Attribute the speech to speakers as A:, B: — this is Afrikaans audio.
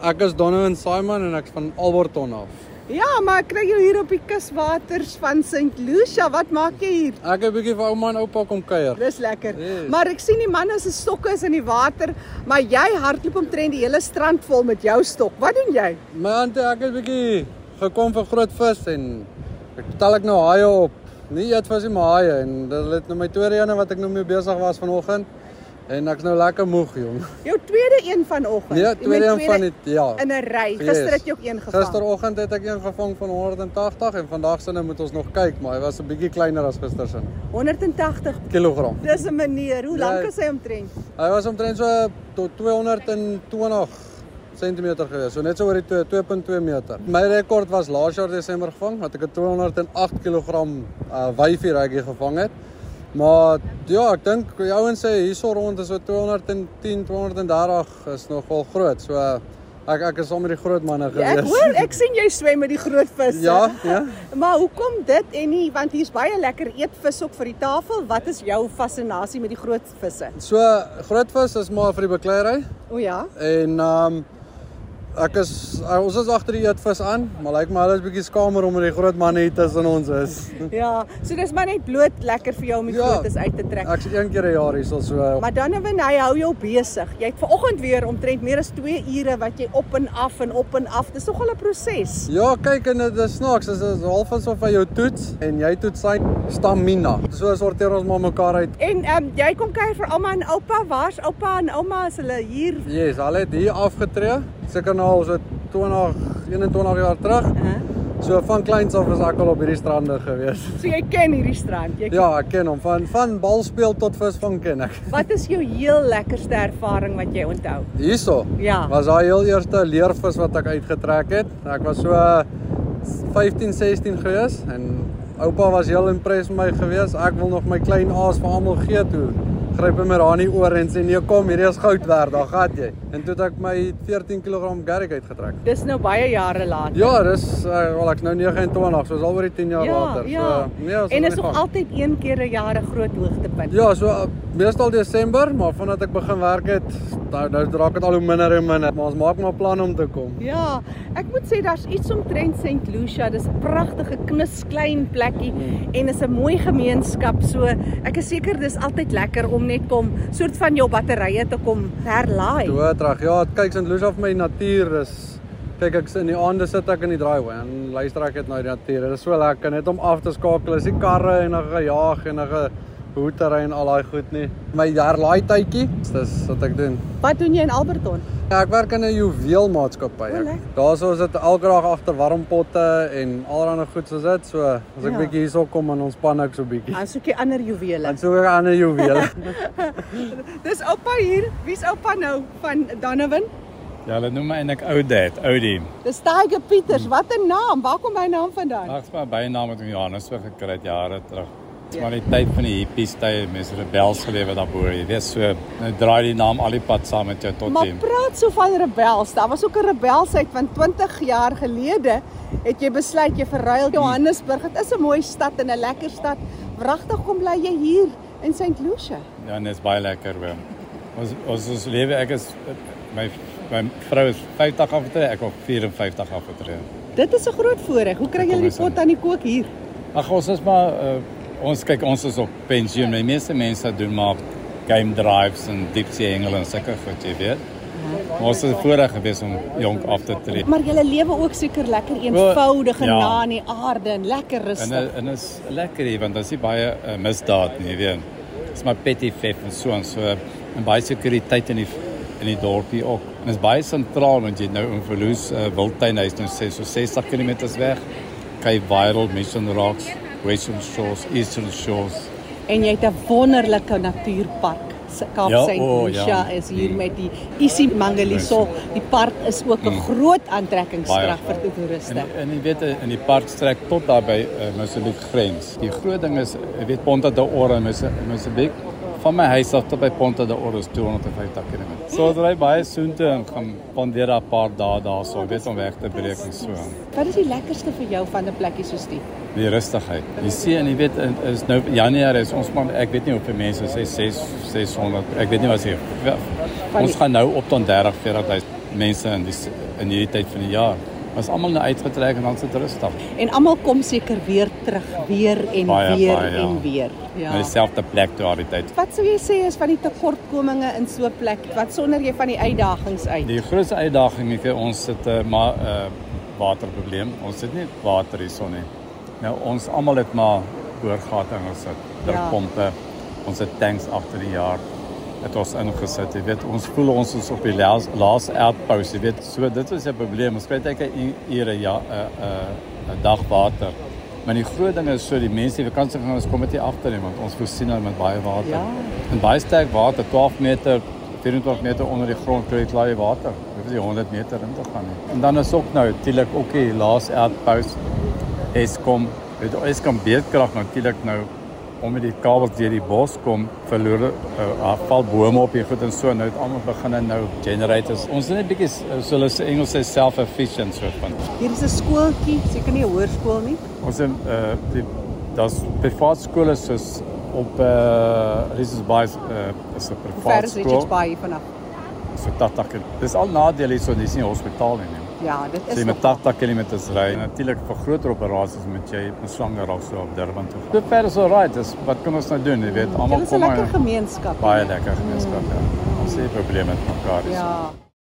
A: Ek is Donne en Simon en ek's van Alberton af.
B: Ja, maar ek kry jou hier op die kuswaters van St. Lucia. Wat maak jy hier?
A: Ek het 'n bietjie vir ouma en oupa kom kuier.
B: Dis lekker.
A: Yes.
B: Maar ek sien die man se stokke is in die water, maar jy hardloop omtrent die hele strand vol met jou stok. Wat doen jy?
A: My auntie, ek het bietjie gekom vir groot vis en ek tel ek nou haie op. Nie eetvis nie, maar haie en dit het nou my tweede ene wat ek nou mee besig was vanoggend en ek's nou lekker moeg, jong.
B: Jou tweede een vanoggend.
A: Nee,
B: Jy
A: tweede
B: met
A: een van die ja.
B: in 'n ry.
A: Yes.
B: Gister het jy ook een gevang.
A: Gisteroggend het ek een gevang van 180 en vandag sinne moet ons nog kyk, maar hy was 'n bietjie kleiner as gister se
B: 180.
A: kilogram.
B: Dis 'n manier. Hoe lank
A: Ja.
B: is hy omtrent?
A: Hy was omtrent so tot 220 cm gewees, so net so oor die twee- 2.2 meter. My rekord was laas jaar Desember gevang wat ek 'n 208 kg uh, wyfie reggie gevang het. Maar ja, ek dink die ouens sê hierso rond is so 210 230 is nogal groot. So uh, ek ek is saam met die groot manne
B: Ja,
A: gewees.
B: ek hoor, ek sien jy swem met die groot visse.
A: Ja, ja.
B: Maar hoekom dit en nie want hier's baie lekker eetvis ook vir die tafel. Wat is jou fascinasie met die groot visse?
A: So grootvis is maar vir die bekleierery
B: O ja.
A: en ehm um, ek is eh, ons is agter die eetvis aan, maar lyk my hulle is bietjie skamer omdat die groot manne hier tussen ons is.
B: Ja, so dis maar net bloot lekker vir jou om die
A: Ja.
B: grootes uit te trek.
A: Ek's een keer 'n jaar hierso so.
B: Maar Donovan, hy hou jou besig. Jy het vanoggend weer omtrent meer as 2 ure wat jy op en af en op en af. Dis nogal 'n proses.
A: Ja, kyk en dit is snaaks, dit is half asof hy jou toets en jy toets sy stamina. So sorteer ons maar mekaar uit.
B: En ehm um, jy kom kuier vir ouma en oupa. Waar's oupa en ouma as hulle hier?
A: Yes, hulle het hier afgetree, seker nou so 20 21 jaar terug.
B: Huh?
A: So van kleins af was ek al op hierdie strande gewees.
B: So jy ken hierdie strand. Jy
A: Ja, ek ken hom van van balspeel tot visvang ken ek.
B: Wat is jou heel lekkerste ervaring wat jy onthou?
A: Hierso.
B: Ja.
A: Was daai heel eerste leervis wat ek uitgetrek het. Ek was so 15, 16 gewees en oupa was heel impressed met my gewees. Ek wil nog my klein aas vir almal gee toe. Gryp hom met haar in die oor en sê nee kom, hierdie is goud werd, daar gaan jy. En toe het ek my 14 kg garrick uitgetrek.
B: Dis nou baie jare later.
A: Ja, dis uh, wel ek's nou 29, so is al oor die 10 jaar later.
B: ja.
A: So nee, ons
B: en
A: aan
B: is
A: die
B: nog
A: gang.
B: altyd een keer 'n jaar 'n groot hoogtepunt.
A: Ja, so uh, meestal Desember, maar vandat ek begin werk het, nou nou raak dit al hoe minder en minder, maar ons maak maar plan om te kom.
B: Ja, ek moet sê daar's iets omtrent St. Lucia. Dis 'n pragtige knus klein plekkie en is 'n mooi gemeenskap. So ek is seker dis altyd lekker om net kom soort van jou batterye te kom herlaai.
A: Doodreg. Ja, het- kyk, St. Lucia vir my natuur is kyk ek in die aande sit ek in die driveway en luister ek net na die natuur. Dit is so lekker net om af te skakel. Is die karre en dan gejaag en dan hoetery en al daai goed nie. My herlaai tydjie, dis wat ek doen.
B: Wat doen jy in Alberton?
A: Ja, ek werk in 'n juweelmaatskappy.
B: O, lekker.
A: Ek- Daarso is dit elke dag agter warm potte en allerlei goed soos dit. So as ek
B: Ja.
A: bietjie hierso kom en ontspan ek so bietjie.
B: Dan soek jy ander juwele.
A: Dan soek ek 'n ander juweel.
B: Dis oupa hier. Wie's oupa nou van Donovan?
C: Ja, hulle noem my eintlik ou dad, Oudie.
B: Dis Tiger Pieters. Wat 'n naam. Waar kom hy naam vandaan?
C: Ek's maar bynaam wat in Johannesburg gekry het jare terug. Dis maar die tyd van die hippies tyd, mense rebels gelewe daarbo. Jy weet so, nou draai die naam al die pad saam met jou tot
B: Maar
C: hier.
B: praat so van rebels. Daar was ook 'n rebelsheid van 20 jaar gelede het jy besluit jy verruil Johannesburg. Dit is 'n mooi stad en 'n lekker stad. Pragtig kom bly jy hier in St. Lucia.
C: Ja, en dit is baie lekker hoor. Ons ons ons lewe ek is my my vrou is 50 afgetree, ek op 54 afgetree.
B: Dit is 'n groot voorreg. Hoe kry
C: Kom
B: jy die
C: eens
B: pot
C: in.
B: aan die kook hier?
C: Ag ons is maar uh, ons kyk ons is op pensioen. Die meeste mense doen maar game drives en diepsee hengel en sulke goed, jy weet. Maar ons is voorreg gewees om jonk af te tree.
B: Maar jy lewe ook seker lekker eenvoudig en
C: ja.
B: na in die aarde en lekker
C: En
B: rustig.
C: eh, en is lekker hier want daar's nie baie uh, misdaad nie, jy weet. Dis maar petty theft en so en so en baie sekuriteit in die in die dorpie ook. En is baie sentraal want jy het nou in Verloes uh, Wildtuinhuis nou sê so 60 km weg. Kyk viral Mission Rocks, Western Shores, Eastern Shores.
B: En jy het 'n wonderlike natuurpark. Se- Kaap
C: Ja,
B: St.
C: o,
B: Lucia
C: ja.
B: is hier met die Isi Mangaliso. Die park is ook 'n groot aantrekkingskrag
C: Hmm. Baie.
B: vir toeriste.
C: En en jy weet eh, in die park strek tot daar by uh, Mosambik grens. Die groot ding is jy weet Ponta da Ora in Mosa- Mosambik van my huis af tot by Ponta da Ora is 250 km. So ons ry baie soontoe en gaan pandeer daar 'n paar dae daarso, jy weet om weg te breek en so.
B: Wat is die lekkerste vir jou van 'n plekkie soos die?
C: Die rustigheid. Jy sien en jy weet en is nou Januarie is ons maar ek weet nie hoeveel mense sê 6 600. Ek weet nie wat sê.
B: Van die-
C: Ons gaan nou op tot 30 40000. mense in die s- in hierdie tyd van die jaar. Was almal nou uitgetrek en dan sit rustig.
B: En almal kom seker weer terug, weer en
C: Baie,
B: weer
C: baie, ja.
B: en weer.
C: Ja.
B: Ja.
C: Na dieselfde plek toe al die tyd.
B: Wat sou jy sê is van die tekortkominge in so 'n plek? Wat sonder jy van die uitdagings uit?
C: Die grootste uitdaging is ons het 'n maar 'n waterprobleem. Ons het nie water hierson nie. Nou ons almal het maar boorgate in ons sit.
B: Ja.
C: Drukpompe. Ons het tanks agter die jaar het ons ingesit. Jy weet, ons voel ons is op die laas laas uitpous, jy weet. So dit is 'n probleem. Ons kry net 'n ure ja 'n 'n 'n dag water. Maar die groot ding is so die mense die vakansiegangers kom dit nie agter nie want ons voorsien hulle met baie water.
B: Ja.
C: En baie sterk water, 12 meter, 24 meter onder die grond kry jy klaar die water. Jy hoef nie 100 meter in te gaan nie. En dan is ook nou natuurlik ook die laas uitpous. Eskom, weet jy, Eskom beedkrag natuurlik nou omdat die kabels deur die bos kom, verloor uh, val bome op hier goed en so nou het almal begin en nou generators. Ons is net bietjie uh, so hulle sê Engels sê self-efficient soort van.
B: Hier is 'n skooltjie, seker nie 'n hoërskool nie.
C: Ons het uh, die daar's privaat skole soos op uh Richards Bay uh, is 'n
B: Hoe ver
C: privaat
B: is Richards
C: skool.
B: Bay hier vanaf?
C: So 80 km. Dis al nadeel hierso, dis nie 'n hospitaal nie. nie.
B: Ja, dit
C: As
B: is
C: jy met
B: nog
C: 80 km ry, natuurlik vir groter operasies moet jy met swanger raak so op Durban toe. Dit ver is alright, dis wat kan ons nou doen, jy weet,
B: Ja, Dit
C: almal
B: is 'n
C: kom
B: lekker
C: maar
B: gemeenskap.
C: baie lekker gemeenskap ja. Ons het probleme met mekaar. hierso.
B: Ja.